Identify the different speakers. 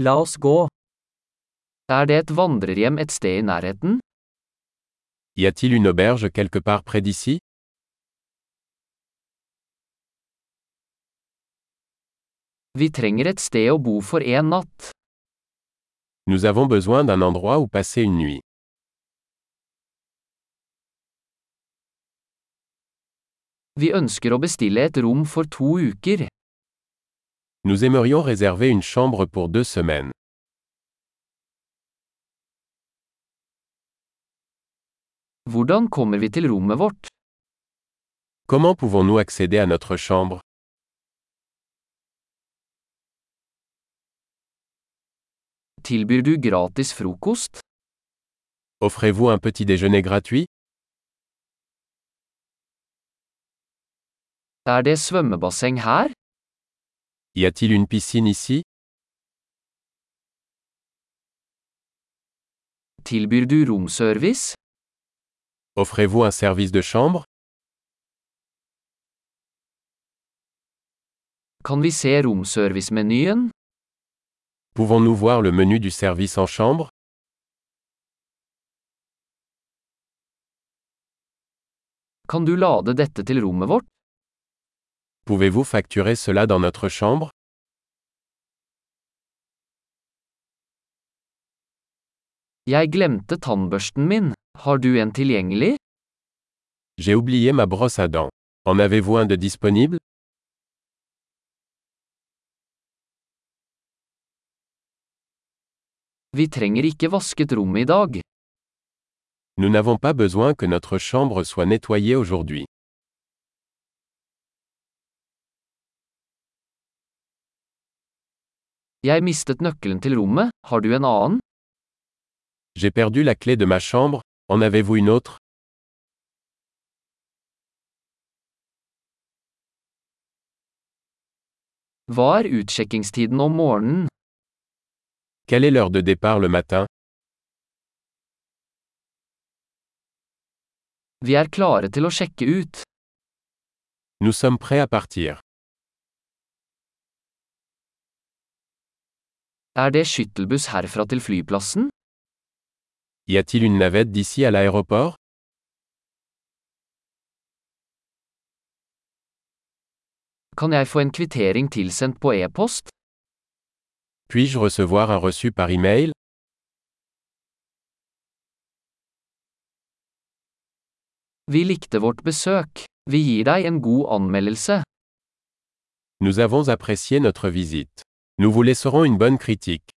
Speaker 1: La oss gå. Er det et vandrerhjem et sted i nærheten?
Speaker 2: Y a-t-il une auberge quelque part près d'ici
Speaker 1: Vi trenger et sted å bo for en natt.
Speaker 2: Nous avons besoin d'un endroit où passer une nuit.
Speaker 1: Vi ønsker å bestille et rom for to uker.
Speaker 2: Nous aimerions réserver une chambre pour deux semaines.
Speaker 1: Hvordan kommer vi til rommet vårt?
Speaker 2: Comment pouvons-nous accéder à notre chambre
Speaker 1: Tilbyr du gratis frokost?
Speaker 2: Offrez-vous un petit déjeuner gratuit
Speaker 1: Er det svømmebasseng her?
Speaker 2: Y a-t-il une piscine ici
Speaker 1: Tilbyr du romservice?
Speaker 2: Offrez-vous un service de chambre
Speaker 1: Kan vi se romservice-menyen?
Speaker 2: Pouvons-nous voir le menu du service en chambre
Speaker 1: Kan du lade dette til rommet vårt?
Speaker 2: Pouvez-vous facturer cela dans notre chambre
Speaker 1: Jeg glemte tannbørsten min. Har du en tilgjengelig?
Speaker 2: J'ai oublié ma brosse à dents. En avez-vous un de disponible
Speaker 1: Vi trenger ikke vasket rommet i dag.
Speaker 2: Nous n'avons pas besoin que notre chambre soit nettoyée aujourd'hui.
Speaker 1: Jeg mistet nøkkelen til rommet, har du en annen?
Speaker 2: J'ai perdu la clé de ma chambre, en avez-vous une autre
Speaker 1: Hva er utsjekkingstiden om morgenen?
Speaker 2: Quelle est l'heure de départ le matin
Speaker 1: Vi er klare til å sjekke ut.
Speaker 2: Nous sommes prêts à partir.
Speaker 1: Er det skyttelbuss herfra til flyplassen?
Speaker 2: Y a-t-il une navette d'ici à l'aéroport
Speaker 1: Kan jeg få en kvittering tilsendt på e-post?
Speaker 2: Puis-je recevoir un reçu par email
Speaker 1: Vi likte vårt besøk. Vi gir deg en god anmeldelse.
Speaker 2: Nous avons apprécié notre visite. Nous vous laisserons une bonne critique.